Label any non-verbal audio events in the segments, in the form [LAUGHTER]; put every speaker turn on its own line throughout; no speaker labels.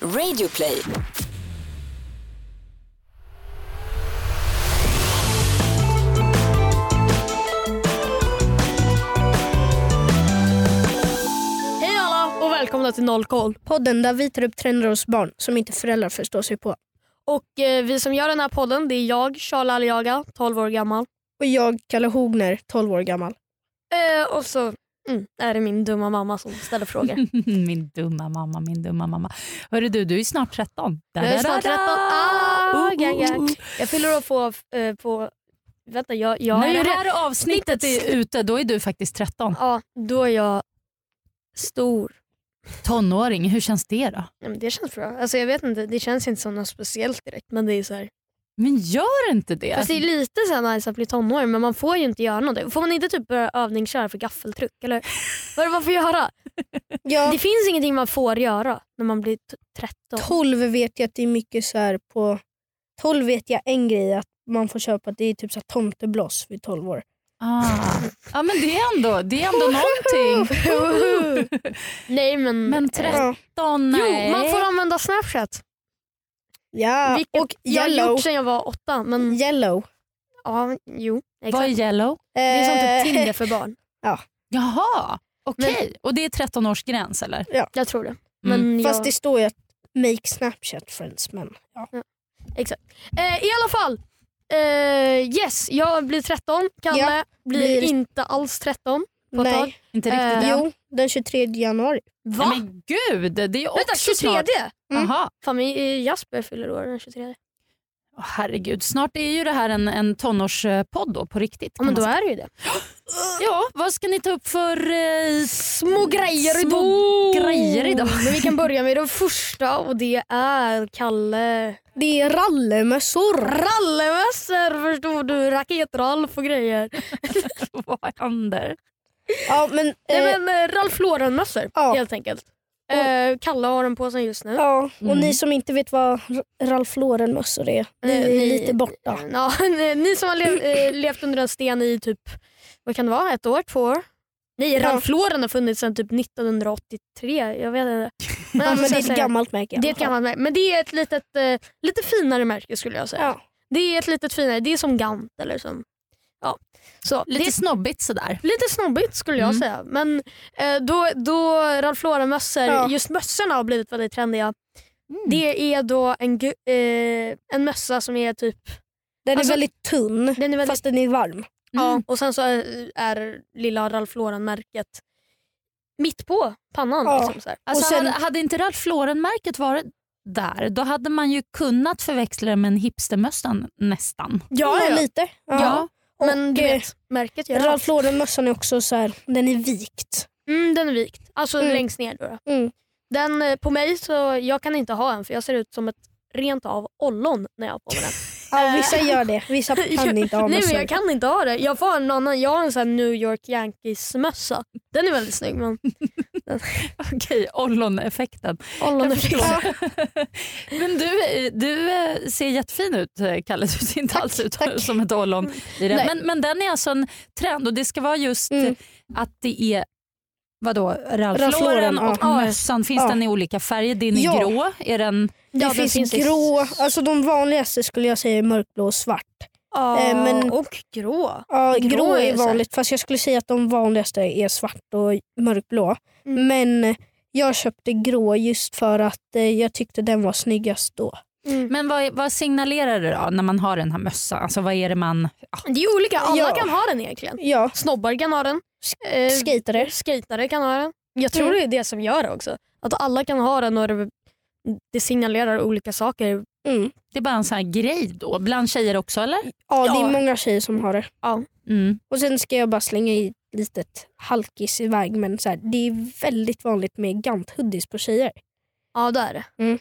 Radioplay.
Hej alla och välkomna till Noll koll.
Podden där vi tar upp trender hos barn som inte föräldrar förstår sig på.
Och eh, vi som gör den här podden det är jag, Charlie Aliaga, 12 år gammal.
Och jag, Kalle Hogner, 12 år gammal.
Eh, och så mm, är det min dumma mamma som ställer
[LAUGHS]
frågor.
min dumma mamma, min dumma mamma. Hörru du, du är snart 13. Da,
jag är
da, da,
snart 13.
da.
Ah,
Oh,
gang, gang.
oh, oh.
Jag fyller upp på, eh, på... Vänta, jag, jag
När
är
det
redan-
här avsnittet är ute, då är du faktiskt 13.
Ja, då är jag stor.
Tonåring, hur känns det då?
Nej, men det känns bra. Alltså, jag vet inte, det känns inte som något speciellt direkt. Men det är så här.
Men gör inte det.
Fast det är lite så här nice att bli tonåring men man får ju inte göra något. Får man inte typ börja övningsköra för gaffeltryck?
[LAUGHS]
Eller? Vad är det man får göra? [LAUGHS]
Ja,
Det finns ingenting man får göra när man blir t- 13.
12 vet jag att det är mycket så här på... 12 vet jag en grej att man får köpa, det är typ så här tomteblås vid 12
[LAUGHS]
år.
Ah. Ja, men det är ändå, det är
[LAUGHS]
ändå någonting.
Nej men...
Men 13,
Ja,
nej.
Jo, man får använda Snapchat.
ja.
vilket
och
jag har
yellow.
gjort sedan jag var åtta. Men
Yellow.
ja, jo.
Vad är
Exakt.
yellow?
Det
Det är
Eh,
som typ Tinder för barn.
Jaha, okej. Och det är 13-årsgräns eller?
Jag tror det. Men
Mm.
jag...
[LAUGHS] Fast det står ju att make Snapchat friends men ja.
Eh, I alla fall. Eh, yes, jag blir 13. Kalle
Ja,
blir,
blir-
inte alls 13. På ett tag.
Nej.
Inte riktigt
Eh,
än.
Jo, den 23 januari.
Va?
Nej, men gud, det är också
Vänta, 23?
snart.
Mm.
Aha.
Fan, men eh, Jasper fyller år den 23.
Åh, herregud, snart är ju det här en, en tonårspodd då, på riktigt.
Ja,
kan
men då
man säga.
är det ju det.
ja, vad ska ni ta upp för eh,
Små grejer
Små grejer idag. [LAUGHS]
Oh, Men vi kan börja med den första och det är Kalle.
Det är rallemössor.
Rallemössor förstod du, raketralf och grejer.
vad händer?
Ja, men, eh,
Nej men eh, Ralph Lauren-mössor
Ja.
helt enkelt. Eh, Kalle har den på sig just nu.
Ja, och
Mm.
ni som inte vet vad R- Ralph Lauren-mössor är, ni
Eh,
är
ni-
lite borta.
Ja, [LAUGHS] ni- ni som har le- eh, levt under en sten i typ, vad kan det vara, ett år, två år? Nej,
Ja.
Ralph Lauren har funnits sedan typ 1983. Jag vet
[LAUGHS]
inte. Men,
Ja,
alltså, så
men det
jag
är ett
säger-
gammalt märke. i
Det är
alla
ett
fall.
gammalt märke, men det är ett litet, eh, lite finare märke skulle jag säga.
Ja.
Det är ett litet finare, det är som Gant eller som... Ja. Så,
Lite
det är
snobbigt sådär.
lite snobbigt skulle jag
Mm.
säga. Men eh, då, då Ralph Lauren-mössor,
Ja.
just mössorna har blivit väldigt trendiga.
Mm.
Det är då en, gu- eh, en mössa som är typ,
Den
Alltså,
är väldigt tunn,
den är väldigt,
fast den är varm.
ja, och sen så är, är lilla Ralph Lauren-märket mitt på pannan.
Ja.
Liksom, så här.
Alltså,
och sen-
hade, hade inte Ralph Lauren-märket varit där, då hade man ju kunnat förväxla det med en hipstermössan nästan.
ja.
lite. Och,
Men du
eh,
vet, märket gör allt.
Ralph Lauren-mössan är också så här, den är vikt.
Mm, den är vikt. Alltså
Mm.
längst ner. Då. då.
Mm.
Den eh, på mig, så jag kan inte ha en för jag ser ut som ett rent av ollon när jag har på
[LAUGHS]
mig den.
Ja,
Eh.
vissa gör det,
[LAUGHS]
vissa kan inte ha
Nej
mössor.
men jag kan inte ha det. Jag får ha en annan. Jag har en sån här New York Yankees mössa. Den är väldigt snygg
[LAUGHS]
men
[LAUGHS] Okej, olloneffekten.
ollon är
Jag förstår.
fint.
Men du, eh, du eh, ser jättefin ut eh, Kalle, du ser inte alls ut
tack.
som ett ollon. i det.
Nej.
Men, men den är alltså en trend och det ska vara just
Mm.
eh, att det är vadå,
Ralph
Ralph,
Lauren,
Lauren och
ja.
mössan. Finns
Ja.
den i olika färger? Din är
Ja.
grå. Är den,
Det
Ja, den
finns,
finns i-
grå, alltså de vanligaste skulle jag säga är mörkblå och svart.
Ja,
Eh, men-
Och grå.
Ja, grå,
Grå är
är
ju så här-
vanligt fast jag skulle säga att de vanligaste är svart och mörkblå.
Mm.
Men eh, jag köpte grå just för att eh, jag tyckte den var snyggast då.
Mm.
men vad, är- vad signalerar det då när man har den här mössan? Alltså vad är det man... Ja.
Det är olika. Alla
Ja.
kan ha den egentligen.
Ja,
Snobbar kan ha den. Eh,
skejtare.
skejtare kan ha den. Jag tror
Mm.
det är det som gör det också. Att alla kan ha den och det, det signalerar olika saker.
Mm.
Det är bara en sån här grej då, bland tjejer också eller?
Ja, det
Ja.
är många tjejer som har det.
Mm.
Och Sen ska jag bara slänga i ett litet halkis iväg men så här, det är väldigt vanligt med gant-hoodies på tjejer.
Ja det är det.
Hmm.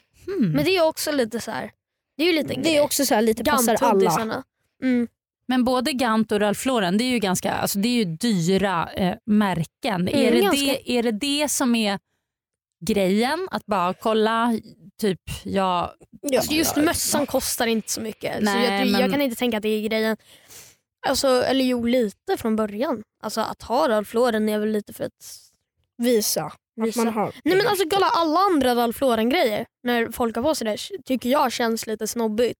Men det är också lite så här. Det är ju lite en
Mm. Det
grej.
är också så här, lite passar alla.
Gant-hoodiesarna. Mm.
Men både Gant och Ralph Lauren det är ju, ganska, alltså det är ju dyra eh,
Mm,
märken. är, det
ganska.
det, är det det som är grejen? Att bara kolla, typ jag...
Ja.
Alltså just mössan kostar inte så mycket. så
Nej,
jag, tror- jag
men-
kan inte tänka att det är grejen. Alltså, eller jo, lite från början. Alltså Att ha Ralph Lauren är väl lite för att
Visa. Att man
Visa.
har.
Nej men alltså kolla alla andra Ralph Lauren grejer när folk har på sig det tycker jag känns lite snobbigt.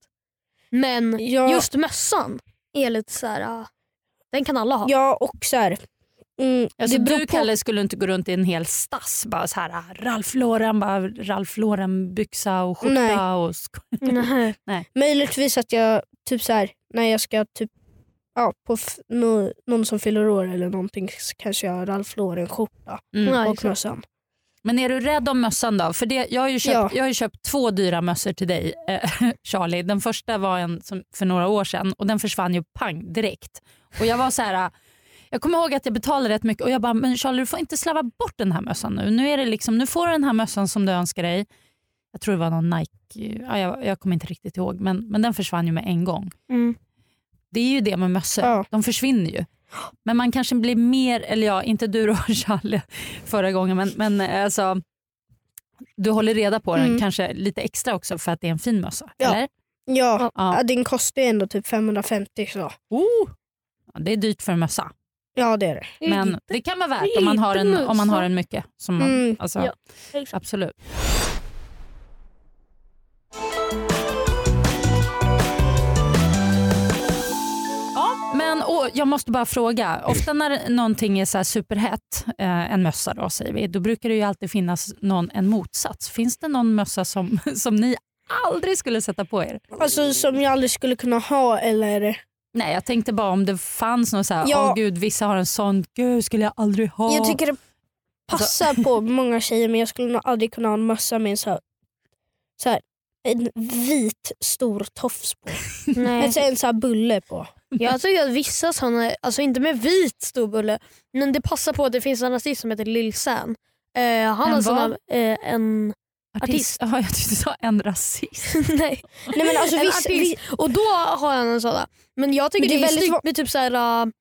Men
Ja,
alltså, just mössan är lite så här. ah, den kan alla ha.
ja och så här. Mm,
Alltså,
det beror
du
på.
Kalle skulle inte gå runt i en hel stass bara så här ah, Ralph Lauren, bara Ralph Lauren byxa och skjorta
Nej. Mm.
och sk-
[LAUGHS] Nej.
Möjligtvis att jag typ så här, när jag ska typ Ja, på f- nå- någon som fyller år eller någonting så kanske jag har Ralph Lauren-skjorta
Mm.
Ja,
och
exakt.
mössan.
Men är du rädd om mössan då? För det, jag, har ju köpt,
Ja.
jag har ju köpt två dyra mössor till dig eh, [LAUGHS] Charlie. Den första var en som, för några år sedan och den försvann ju pang direkt. Och jag var så här, eh, jag kommer ihåg att jag betalade rätt mycket och jag bara, men Charlie du får inte slarva bort den här mössan nu. Nu, är det liksom, nu får du den här mössan som du önskar dig. Jag tror det var någon Nike, ja, jag, jag kommer inte riktigt ihåg men, men den försvann ju med en gång.
Mm.
Det är ju det med mössor,
Ja.
de försvinner ju. Men man kanske blir mer, eller ja, inte du då [LAUGHS] Charlie förra gången, men, men alltså, du håller reda på den
Mm.
kanske lite extra också för att det är en fin mössa?
Ja.
Eller?
Ja,
Ja.
ja. din kostar ju ändå typ 550 så.
Oh. Ja, det är dyrt för en mössa,
Ja det är det.
men det kan vara värt om man har en, om man har en mycket. Som man,
Mm.
alltså,
Ja, exakt.
Absolut. Ja, Men och jag måste bara fråga, ofta när någonting är så här superhett, eh, en mössa då säger vi, då brukar det ju alltid finnas någon, en motsats. Finns det någon mössa som, [LAUGHS] som ni aldrig skulle sätta på er?
Alltså som jag aldrig skulle kunna ha eller...
Nej, jag tänkte bara om det fanns någon så här,
Ja.
åh gud vissa har en sån, gud skulle jag aldrig ha.
Jag tycker det passar
Alltså.
på många tjejer men jag skulle nog aldrig kunna ha en mössa med en så här, så här, en vit stor tofs på.
Nej.
Alltså en så här bulle på.
Jag tycker att vissa sådana, alltså inte med vit stor bulle, men det passar på att det finns en artist som heter Lil San. Eh, han
En
har
vad?
såna, eh, en, [LAUGHS]
artist. [LAUGHS] Ja, jag tyckte du sa en rasist.
nej,
Nej men alltså
en
viss,
artist.
vi-
Och då har han en sådan. Men jag tycker
Men
det,
det
är
är väldigt
snyggt
va-
med typ så här,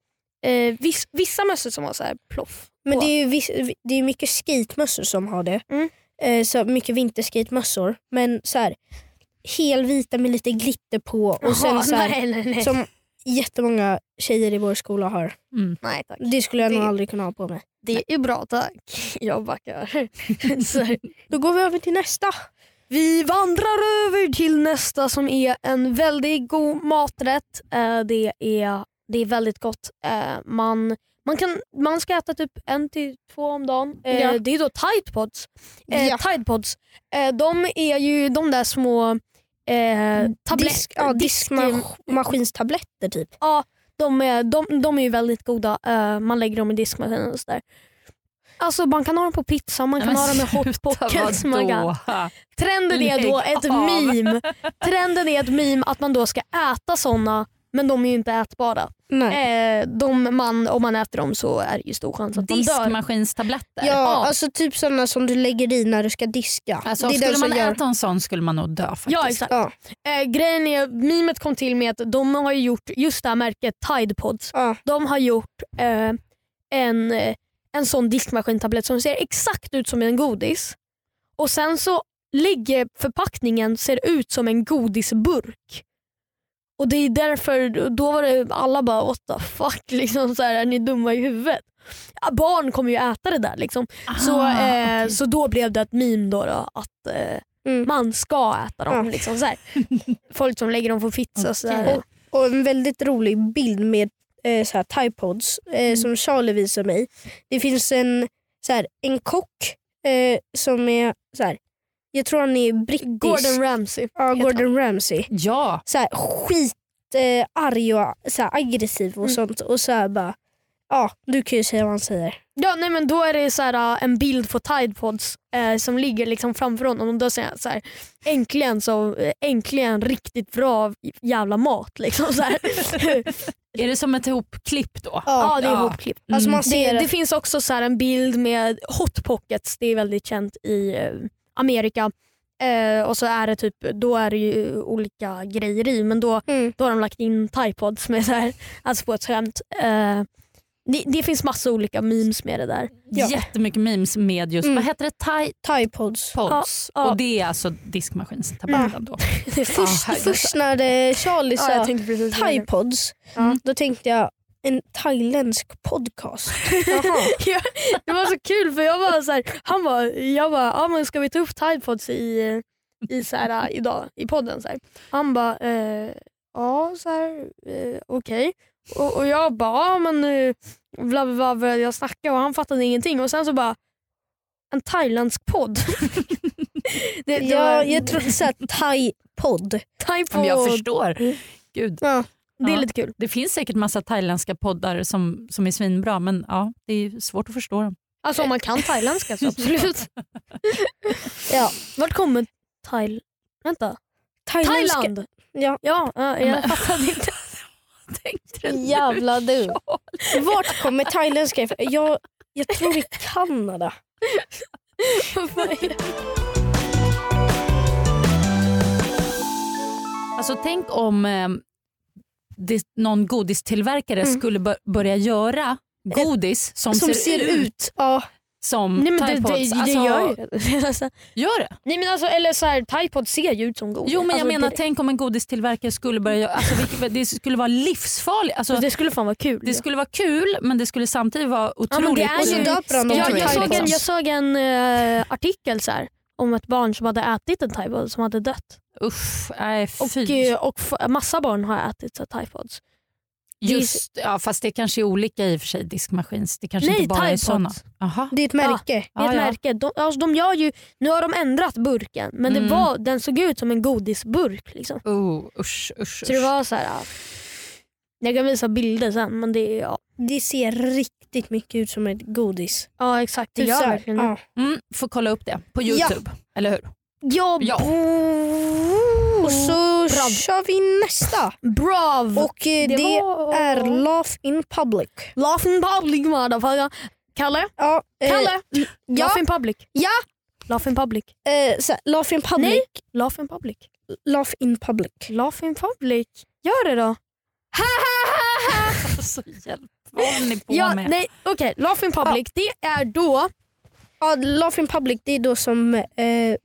eh, viss, vissa mössor som har så här ploff.
men
på.
det är ju viss, det är mycket skitmössor som har det.
Mm.
Eh, så mycket vinterskitmössor. Men så här, helvita med lite glitter på och sen
Jaha,
så
[LAUGHS]
här,
nej, nej, nej.
som jättemånga tjejer i vår skola har.
Mm.
nej tack.
Det skulle jag nog
Det-
aldrig kunna ha på mig.
Det är bra tack. [LAUGHS] Jag backar. så,
Då går vi över till nästa.
vi vandrar över till nästa som är en väldigt god maträtt. Eh, det, är, det är väldigt gott. Eh, man, man, kan, man ska äta typ en till två om dagen. Eh,
Ja.
Det är då Tide Pods. Eh,
Ja.
Tide Pods. Eh, de är ju de där små eh, tabletter.
Mm, Disk, ja, diskmaskinstabletter typ.
De är, de, de är ju väldigt goda. Eh, man lägger dem i diskmaskinen och sådär. Alltså man kan ha dem på pizza, man
Nej,
kan
men
ha dem i
sluta,
hot pockets.
vadå?
man kan- Trenden är då
Lägg
ett
av.
meme. Trenden är ett meme att man då ska äta såna men de är ju inte ätbara.
Nej.
Eh, de man, om man äter dem så är det ju stor chans att man dör.
Diskmaskinstabletter.
Ja, alltså typ sådana som du lägger i när du ska diska.
Alltså,
det är den
skulle
som
man
gör...
äta en sån skulle man nog dö faktiskt.
Ja exakt.
Ja,
Eh, grejen är, memet kom till med att de har ju gjort, just det här märket Tide Pods,
ja.
de har gjort eh, en, eh, en sån diskmaskintablett som ser exakt ut som en godis. Och sen så ligger förpackningen ser ut som en godisburk. Och det är därför, då var det alla bara what the fuck, [LAUGHS] liksom så här, är ni dumma i huvudet? Ja, barn kommer ju äta det där liksom.
Ah,
Så, eh,
okej.
så då blev det ett meme då, då att eh,
Mm.
man ska äta dem.
Ja.
Liksom,
[LAUGHS]
så här. Folk som lägger dem på pizza. och Så
Ah. Okej.
där.
Och en väldigt rolig bild med eh, så här, Typods eh,
Mm.
som Charlie visade mig. Det finns en, så här, en kock eh, som är, så här, jag tror han är brittisk.
Gordon Ramsay.
ja,
heter
Gordon Ramsay.
Ja,
så här, skit eh, arg och så här, aggressiv och
Mm.
sånt. Och så här, bara, ja, du kan ju säga vad han säger.
Ja, nej, men då är det så här, äh, en bild på Tidepods eh, som ligger liksom framför honom och då säger han så här, äntligen, så, eh, äntligen riktigt bra jävla mat. Liksom, så
[LAUGHS]
här.
är det som ett ihopklipp då?
ja, det är
Ja.
ihopklippt.
Alltså
Mm.
man ser
Det,
det.
det finns också så här en bild med hot pockets, det är väldigt känt i eh, Amerika. Eh, och så är det typ, då är det ju olika grejer i men då,
Mm.
då har de lagt in Tidepods med så här, alltså på ett skämt. Eh, det, det finns massa olika memes med det där.
Ja.
Jättemycket memes med just,
Mm.
vad heter det, Tide
Typods.
Pods.
Ja, ja.
Och det är alltså diskmaskinstabletten då.
Först,
Ja, herregud.
först när det, Charlie
Ja, jag
sa
tänkte precis säga det.
Typods,
Ja.
då tänkte jag en thailändsk
[LAUGHS]
podcast.
Ja, det var så kul för jag var så här, han var, jag bara, ja men ska vi ta upp Tidepods i, i så här, eh, idag i podden? Så här. Han bara, eh, ja så här, eh, okej. Och, och jag bara, ja men eh, bla bla bla började jag snacka och han fattade ingenting och sen så bara, en thailändsk podd. [LAUGHS] det, det
ja,
var-
jag tror så här, thai-podd.
Men jag
Tidepod,
förstår. Gud.
Ja.
det är
Ja.
lite kul.
Det finns säkert massa thailändska poddar som, som är svinbra men ja, det är svårt att förstå dem. [LAUGHS]
Alltså om man kan thailändska så absolut.
Ja.
Vart kommer Thail... Vänta.
Thailändska-
Thailand!
Ja.
Ja, ja, jag fattade
[LAUGHS]
inte.
Tänkte du nu?
[LAUGHS]
Jävla du. Vart kommer thailändska ifrån? Jag, jag tror det är Kanada.
Mm. Alltså tänk om eh, det, någon godistillverkare
Mm.
skulle bör- börja göra godis som,
Som ser ut. Ja.
som
Nej men det,
Tide
det,
Pods.
det
Alltså,
gör ju [LAUGHS] det. Alltså,
gör det.
Nej men alltså eller så här, Thaipod ser ju ut som godis.
Jo men
alltså,
jag menar
det,
tänk om en godistillverkare skulle börja göra, alltså, vilket, det skulle vara livsfarligt. Alltså,
det skulle fan vara kul.
det skulle vara kul men det skulle samtidigt vara
Ja, men
otroligt
det är
Och
ju-
så döper han dem
jag,
till
jag
det,
såg en,
liksom.
jag såg en eh, artikel så här, om ett barn som hade ätit en Thaipod som hade dött.
Usch, nej
Och,
fy.
eh, och f- massa barn har ätit så här Thaipods.
Just, ja, fast det kanske är olika i och för sig diskmaskins. Det kanske
Nej,
inte bara är
Tide
sådana.
Pods.
Aha.
Det är ett märke.
Det är ett
Ja, ja.
märke. De, alltså, de gör ju, nu har de ändrat burken men
Mm.
det var, den såg ut som en godisburk. Liksom.
Oh, usch, usch,
Så det
usch.
var så här. ja. Jag kan visa bilder sen men det är ja,
Det ser riktigt mycket ut som ett godis.
ja exakt. Det
Typ
gör
så här.
verkligen det.
ja.
Mm, får kolla upp det på
Ja.
Youtube, eller hur?
Ja,
Ja.
Och så
Bra.
kör vi nästa.
brav!
Och eh, det,
var-
är Laugh in Public.
Laughing Public motherfucker. Kalle,
Ja, eh,
Kalle!
ja.
Laughing Public.
Ja.
Laughing Public.
eh, så här, laugh in Public.
Nej. Laughing Public.
Laugh in Public.
Laughing Public. Gör det då.
[LAUGHS] Alltså, hjälp. Vad håller ni på
Ja,
med?
nej, okej. Laughing Public, det är då...
Ja, laugh in Public det är då som eh,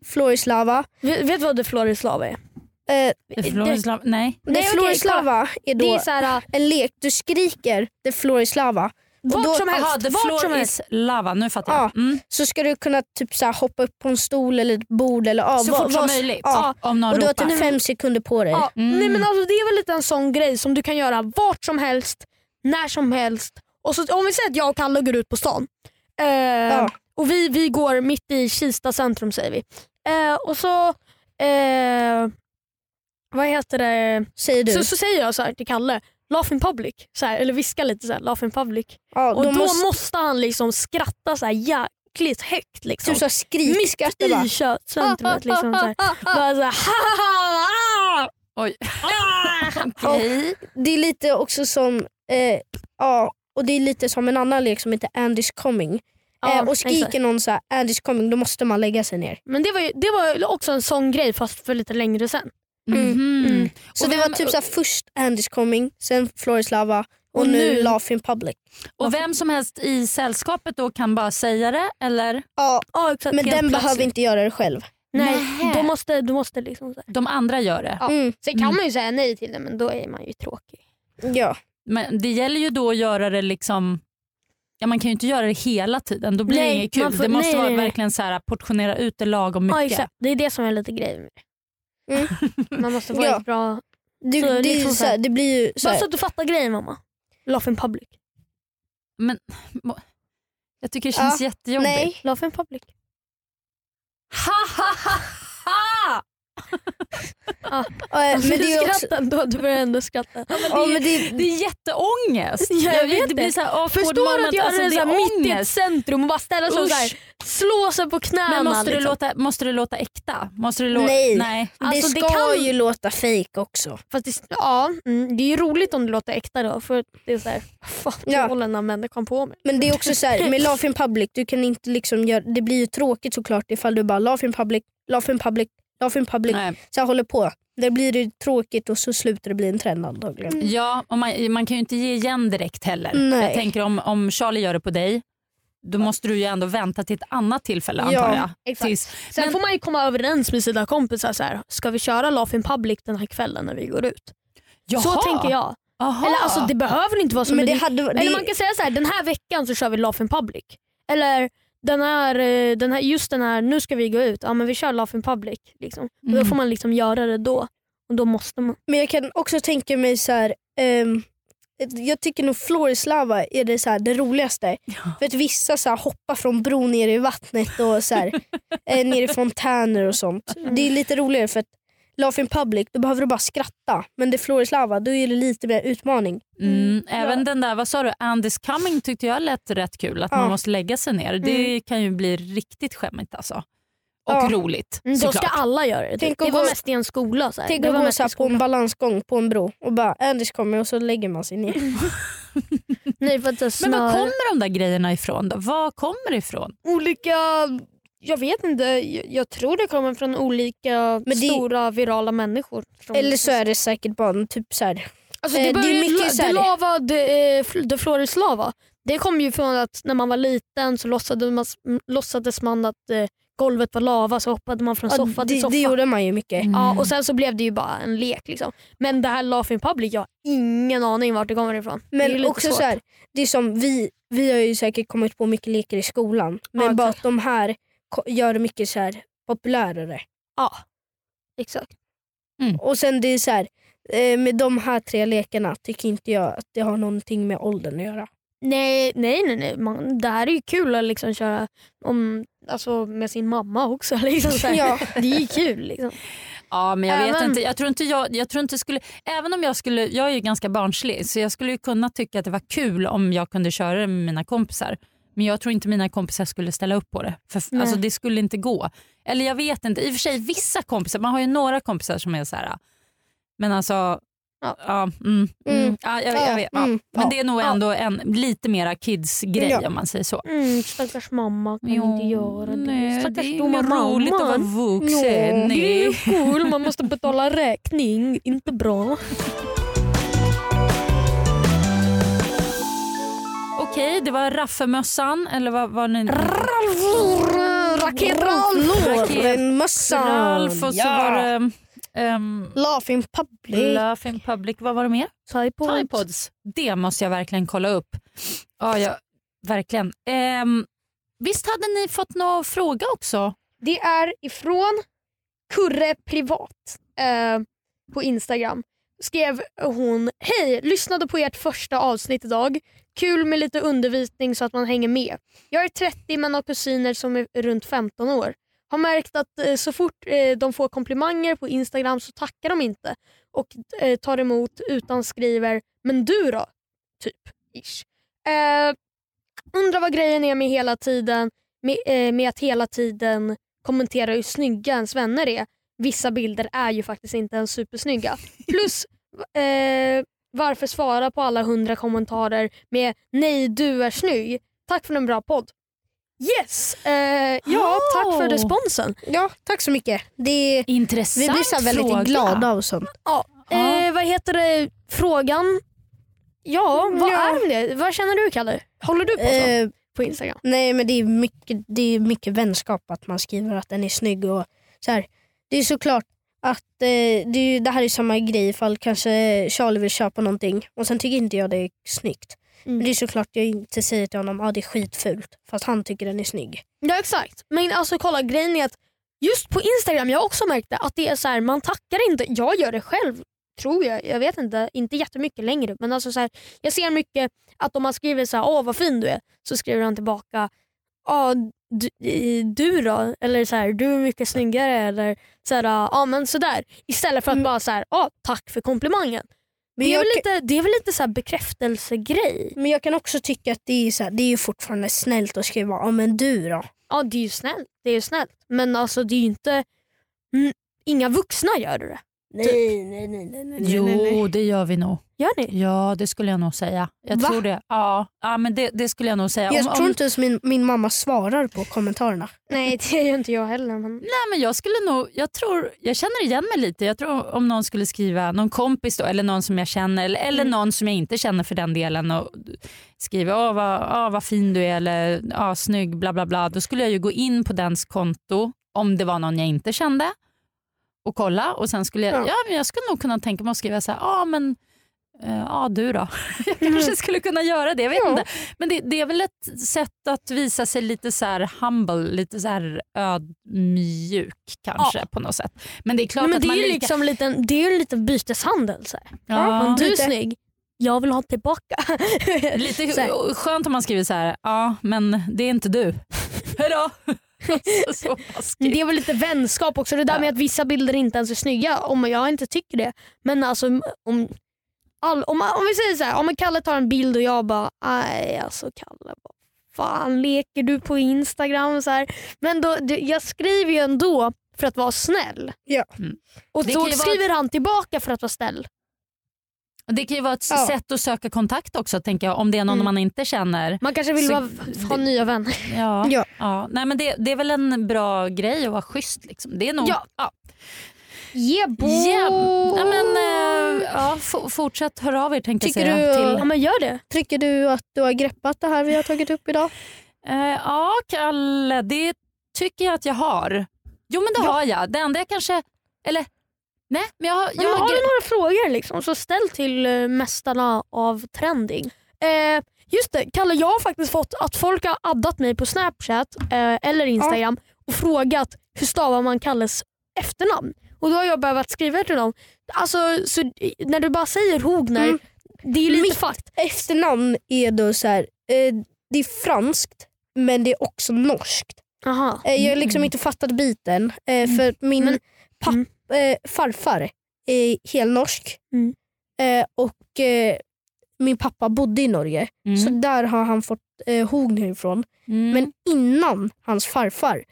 Floris Lava.
Vet vet du vad The Floris Lava är?
Eh,
Det är Florence Love- nej.
det
Nej, okej,
Floris
kolla.
Lava är då
Det är så här, äh,
en lek. Du skriker det Floris Lava. Och
vart
då-
som helst.
Aha, the
vart
floor
som helst.
is lava. Nu fattar jag. Mm.
så ska du kunna typ så här, hoppa upp på en stol eller ett bord. Eller, ja,
Så
vad-
fort som
vad-
möjligt.
Ja.
Om någon
Och du har
ropar.
typ fem sekunder på dig.
Ja,
Mm.
nej, men alltså, det är väl lite en sån grej som du kan göra vart som helst, när som helst. Och så, om vi säger att jag och Kalle går ut på stan eh, och vi, vi går mitt i Kista centrum säger vi. Eh, och så eh, vad heter det?
Säger du.
Så, så säger jag så här till Kalle, laugh in public. Så här, eller viskar lite så här, laugh in public.
ja,
Och då, måste...
måste
han liksom skratta så här jäkligt högt. Liksom.
du typ så här, skrikskratta bara.
I köttcentrumet. Liksom,
[LAUGHS]
så här. Bara så här,
Ah! Oj.
Ah!
[LAUGHS]
Okej. Det är lite också som eh, ja, och det är lite som en annan lek som heter Andy's coming.
Ja,
eh, och skriker
exakt.
någon så här, Andy's coming då måste man lägga sig ner.
Men det var, ju, det var ju också en sån grej fast för lite längre sen.
Mhm.
Mm.
Så
Och
det
vem-
var typ så här, först Andy's coming, sen Floris lava och,
Och
nu,
nu-
Laugh in public.
Och vem som helst i sällskapet då kan bara säga det eller?
Ja,
Ja, exakt.
men den
helt
behöver
plötsligt.
inte göra det själv.
Nej,
Nähä.
då måste, då måste liksom så här.
De andra gör det.
Ja.
Mm,
Sen kan man ju säga nej till det men då är man ju tråkig.
ja.
Men det gäller ju då att göra det liksom Ja, man kan ju inte göra det hela tiden, då blir
Nej,
det inget kul.
man får-
det måste
nej,
vara
nej, nej.
verkligen så här, portionera ut det lagom mycket.
Ja, exakt. Det är det som är lite grejen med det.
Mm.
[LAUGHS] Man måste vara
Ja.
ett bra...
Du,
Så
det, är
liksom
ju
så
så
här-
här, det blir ju så
Bara
här,
så att du fattar grejen mamma. Laugh in public.
Jag tycker det känns jättejobbigt.
nej.
Laugh in public.
Ha, ha, ha,
Äh,
ha!
Eh,
Alltså,
men
du
det är ju också,
skrattar ändå, du börjar ändå
[LAUGHS]
skratta.
ja, men det,
Det är jätteångest.
Ja, jag vet
det
det.
blir så här awkward
Förstår du att
moment.
göra
Alltså,
det,
det
så här mitt i ett
ångest.
centrum och bara ställa sig och så här,
Usch.
slå sig på knäna.
Men måste,
liksom.
det låta, måste det låta äkta? Måste det låta,
Nej.
nej.
Alltså,
det
det
ska
kan-
ju låta fejk också.
Fast det, ja, mm, det är ju roligt om det låter äkta då. För det är [LAUGHS] såhär, fan
Ja.
ja. håller den här människan på med?
Men det är också så här, med Laugh in public, du kan inte liksom göra, det blir ju tråkigt såklart ifall du bara Laugh in public, Laugh in public, Laugh in public,
nej.
så här håller på. Det blir det tråkigt och så slutar det bli en trend antagligen.
Ja, och man, man kan ju inte ge igen direkt heller.
Mm.
Nej.
Jag tänker om, om Charlie gör det på dig, då måste du ju ändå vänta till ett annat tillfälle
Ja,
antar jag.
exakt.
Tills,
Sen
Men-
får man ju komma överens med sina kompisar. Så här, ska vi köra Laugh in public den här kvällen när vi går ut? Så
Jaha!
tänker jag.
Aha.
Eller alltså det behöver inte vara så.
men det
det-
hade, det,
Eller man kan säga så här, den här veckan så kör vi Laugh in public. Eller den här, eh, den här, just den här, nu ska vi gå ut. Ja men vi kör Laugh in public. Liksom. Och Då
Mm.
får man liksom göra det då. Och då måste man.
Men jag kan också tänka mig så här. ehm, jag tycker nog Florislava är det, så här, det roligaste. För att vissa så här, hoppar från bron ner i vattnet och
[LAUGHS]
så här, eh, ner i fontäner och sånt. Det är lite roligare för att Laugh in public, då behöver du bara skratta. Men det är Florislava, då är det lite mer utmaning.
Mm, även den där, vad sa du, Andy's coming tyckte jag lät rätt kul. Att
Ja.
man måste lägga sig ner.
Mm.
Det kan ju bli riktigt skämmigt alltså. Och
Ja.
roligt
Mm, då
såklart.
ska alla göra det.
Tänk
det
att
var
gå-
mest i en skola. Så här.
Tänk
det
att
var
gå
mest i
så här, på en balansgång på en bro och bara Anders kommer och så lägger man
[LAUGHS]
sig ner.
Nej, för att det
Men var
snör-
kommer de där grejerna ifrån då? Var kommer det ifrån?
olika, jag vet inte, jag, jag tror det kommer från olika
det-
stora virala människor. Som,
Eller så är det säkert bara en typ så här.
alltså,
eh, det
det,
är
började ju-
mycket så här-
det lava, det, eh, fl- det Flores lava, det kom ju från att när man var liten så låtsades man, låtsades man att eh, golvet var lava så hoppade man från
ja,
soffa till
det,
soffa.
det gjorde Mm. man ju mycket.
Ja, och Sen så blev det ju bara en lek. Liksom. Men det här Laugh in public, jag har ingen aning vart det kommer ifrån. det är ju
Men
lite
också
svårt.
så här, det är som vi, vi har ju säkert kommit på mycket lekar i skolan. Men
Ja,
bara
exakt.
att de här ko- gör det mycket så här populärare.
Ja, exakt.
Och sen det är så här, eh, med de här tre lekarna tycker inte jag att det har någonting med åldern att göra.
Nej, nej, nej. nej. Man, det här är ju kul att liksom köra om, alltså, med sin mamma också. [LAUGHS] Liksom, så här.
Ja.
Det är ju kul. Liksom.
Ja, men jag vet
Även-
inte. Jag tror inte jag, jag tror inte skulle, även om jag skulle, jag är ju ganska barnslig så jag skulle ju kunna tycka att det var kul om jag kunde köra det med mina kompisar. Men jag tror inte mina kompisar skulle ställa upp på det. För,
Nej.
alltså, det skulle inte gå. Eller jag vet inte. I och för sig vissa kompisar, man har ju några kompisar som är så här. Men alltså,
Ja.
ja. mm, mm,
Mm.
Ja, jag, jag vet, ja.
Mm,
Men
ja.
det är nog
Ja.
ändå en lite mera kids-grej
Ja.
om man säger så.
Mm, stackars mamma kan inte göra det.
nej, det
Stackars
är
dumma
inget roligt att vara
mamman.
vuxen.
Ja.
Det är
Nej.
ju kul, man måste betala räkning. Inte bra.
Okej, det var raffelmössan eller vad var ni?
Rolf
Raket.
Mössan.
Ralf och så
Ja.
var det ehm,
Laugh in public.
Laugh in public. Vad var det mer?
Typod.
Timepods. Det måste jag verkligen kolla upp. Ja, ja verkligen. Ehm, visst hade ni fått någon fråga också?
Det är ifrån Kurre Privat eh, på Instagram. Skrev hon, hej, lyssnade på ert första avsnitt idag. Kul med lite undervisning så att man hänger med. Jag är 30 men har kusiner som är runt 15 år. Har märkt att eh, så fort eh, de får komplimanger på Instagram så tackar de inte och eh, tar emot utan skriver “men du då?” typ. Ish. Eh, undrar vad grejen är med hela tiden med, eh, med att hela tiden kommentera hur snygga ens vänner är. Vissa bilder är ju faktiskt inte ens supersnygga. Plus eh, varför svara på alla hundra kommentarer med “nej du är snygg”. Tack för en bra podd. Yes! Eh, ja, tack för
Oh.
responsen.
Ja, tack så mycket. Det,
Intressant
vi blir så här väldigt
fråga.
glada och sånt.
Ja.
Eh, vad heter det? Frågan? Ja, vad
Ja.
är det? Vad känner du Kalle? Håller du på sånt
Eh,
på Instagram?
Nej men det är, mycket, det är mycket vänskap att man skriver att den är snygg. Och så här. Det är såklart att eh, det, är, ju- det här är samma grej ifall kanske Charlie vill köpa någonting och sen tycker inte jag det är snyggt.
Mm.
Men det är såklart jag inte säger till honom att ah, det är skitfult fast han tycker den är snygg.
Ja exakt. Men alltså kolla grejen är att just på Instagram, jag har också märkt det, att det är så här, man tackar inte. Jag gör det själv tror jag. Jag vet inte, inte jättemycket längre. Men alltså så här, jag ser mycket att om man skriver så här, åh vad fin du är, så skriver han tillbaka, ja du, eh, du då? Eller så här, du är mycket snyggare. Eller så här, "Ah, ja men sådär. Istället för att
Mm.
bara så här, ja tack för komplimangen.
Men
det, är
jag,
väl
kan-
lite, det är väl lite så här bekräftelsegrej?
men jag kan också tycka att det är, så här, det är ju fortfarande snällt att skriva ah, men du då?
Ja, det är ju snällt. Det är ju snällt. Men alltså det är ju inte... Mm, inga vuxna gör det.
Nej, nej, nej, nej, nej,
Jo, det gör vi nog.
Gör ni?
Ja, det skulle jag nog säga. Jag
Va?
tror det. Ja, ja men det, det skulle jag nog säga.
Jag
Om-
tror
om-
inte ens min, min mamma svarar på kommentarerna.
[LAUGHS] Nej, det gör ju inte jag heller. Men...
Nej, men jag skulle nog, jag tror, jag känner igen mig lite. Jag tror om någon skulle skriva, någon kompis då, eller någon som jag känner eller, eller någon som jag inte känner för den delen och skriver åh vad, åh, vad fin du är eller åh, snygg bla bla bla. Då skulle jag ju gå in på dens konto om det var någon jag inte kände och kolla och sen skulle jag,
Ja.
ja. men jag skulle nog kunna tänka mig att skriva så här, ja men Eh, Ja, du då? [LAUGHS] Jag
Mm.
kanske skulle kunna göra det. Jag vet
Ja.
inte. Men det, det är väl ett sätt att visa sig lite så här humble, lite så här ödmjuk kanske på något sätt. Men det är klart
Nej, men
att
det, är
man
ju
lika...
liksom liten, det är ju en liten byteshandel. Så här.
ja,
Om du är
Lite.
snygg, jag vill ha tillbaka. [LAUGHS]
lite
så här.
skönt om man skriver så här, ja men det är inte du. [LAUGHS] Hejdå! Alltså, så
Men
taskigt.
Det är väl lite vänskap också. Det där
Ja.
med att vissa bilder inte ens är snygga. Om jag inte tycker det. Men alltså om, all, om, om vi säger så här, om Kalle tar en bild och jag bara, nej alltså Kalle, vad fan leker du på Instagram? Så här. Men då, det- jag skriver ju ändå för att vara snäll.
Ja.
Mm.
Och
Det
då
kan ju vara-
skriver han tillbaka för att vara snäll.
Och Det kan ju vara ett
Ja.
sätt att söka kontakt också tänker jag, om det är någon
Mm.
man inte känner.
Man kanske vill
Så-
vara, ha
det-
nya vänner.
Ja. Ja.
Ja.
Nej, men det, det är väl en bra grej att vara schysst. Liksom. Det är nog...
Ja.
Ja.
Yeah,
Yeah. Ja, men, eh, ja, f- fortsätt höra av er tänkte jag
Tycker
säga.
du-
ja,
Till,
men gör det.
Tycker du att du har greppat det här vi har tagit upp idag?
eh, ja, Kalle, det tycker jag att jag har. Jo, men det har jag. Det enda jag kanske... Eller? Nej, men jag, har- jag
men
har...
har
gre-
du några frågor liksom, så ställ till eh, mästarna av trending. Eh, just det, Kalle jag har faktiskt fått att folk har addat mig på Snapchat eh, eller Instagram och frågat hur stavar man Kalles efternamn. Och Då har jag behövt skriva till dem. Alltså, så, eh, när du bara säger Hogner,
Mm.
det är lite
Mitt-
fakt.
Efternamn är då så här, eh, det är franskt men det är också norskt.
Aha.
Eh, jag har
Mm.
liksom inte fattat biten eh, för min
Men-
papp, eh, farfar är helnorsk
Mm.
eh, och eh, min pappa bodde i Norge
Mm,
så där har han fått eh, Hogner ifrån.
mm,
Men innan hans farfar,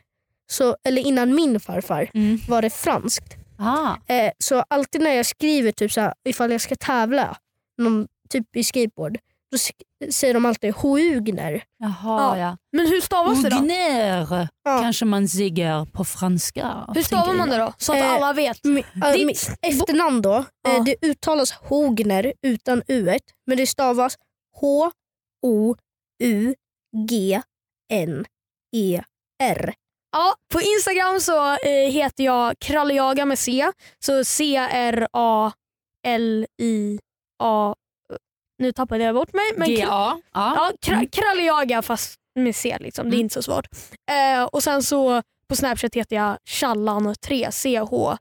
så, eller innan min farfar,
mm.
var det franskt.
Ah,
Eh, så alltid när jag skriver typ så här, ifall jag ska tävla någon, typ i skateboard, då sk- säger de alltid Hougner.
jaha,
Ja.
ja.
Men hur stavas det då?
Ugner
Ja.
kanske man säger på franska.
Hur stavar
tänker
man det då? Så att
Eh,
alla vet.
Mi- äh,
Ditt-
mitt efternamn då,
Ja.
eh, det uttalas Hogner utan u men det stavas E H-O-U-G-N-E-R.
Ja, på Instagram så eh, heter jag kralljaga med C. Så C-R-A-L-I-A... Nu tappade jag bort mig. Men
jag. G-A. Ja.
ja, kra, kralljaga fast med C. Liksom. Det är
Mm.
inte så svårt. Eh, och Sen så på Snapchat heter jag challan3. C-H.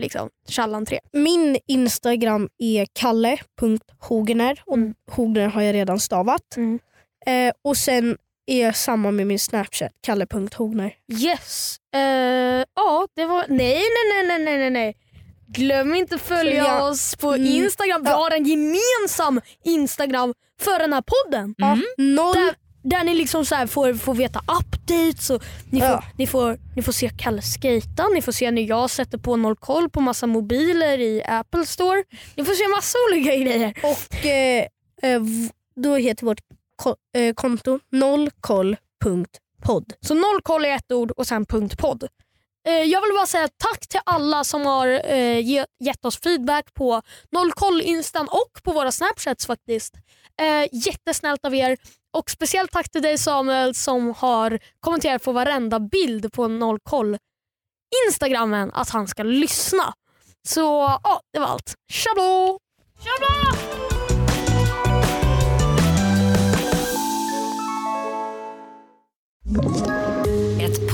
Liksom, challan3.
Min Instagram är kalle.hogner och
Mm.
Hogner har jag redan stavat.
Mm.
Eh, och sen är jag samma med min Snapchat, kalle.hogner.
Yes. Eh, ja, det var... Nej, nej, nej, nej, nej, nej, nej. Glöm inte följa
Följa-
oss på
Mm.
Instagram. Vi
Ja.
har en gemensam Instagram för den här podden.
Mm.
Noll
Där, där ni liksom så här får, får veta updates och ni,
Ja.
får, ni, får, ni får se Kalle skejta, ni får se när jag sätter på noll koll på massa mobiler i Apple store. Ni får se massa olika grejer.
Och eh, eh, v- då heter vårt ko- eh, konto nollkoll.podd.
Så noll koll är ett ord och sen punkt podd. Eh, Jag vill bara säga tack till alla som har eh, ge- gett oss feedback på nollkoll-instan och på våra snapchats faktiskt. Eh, Jättesnällt av er. Och speciellt tack till dig Samuel som har kommenterat på varenda bild på nollkoll instagrammen att han ska lyssna. Så ja, det var allt. Tjablå! Tjablå!
Ett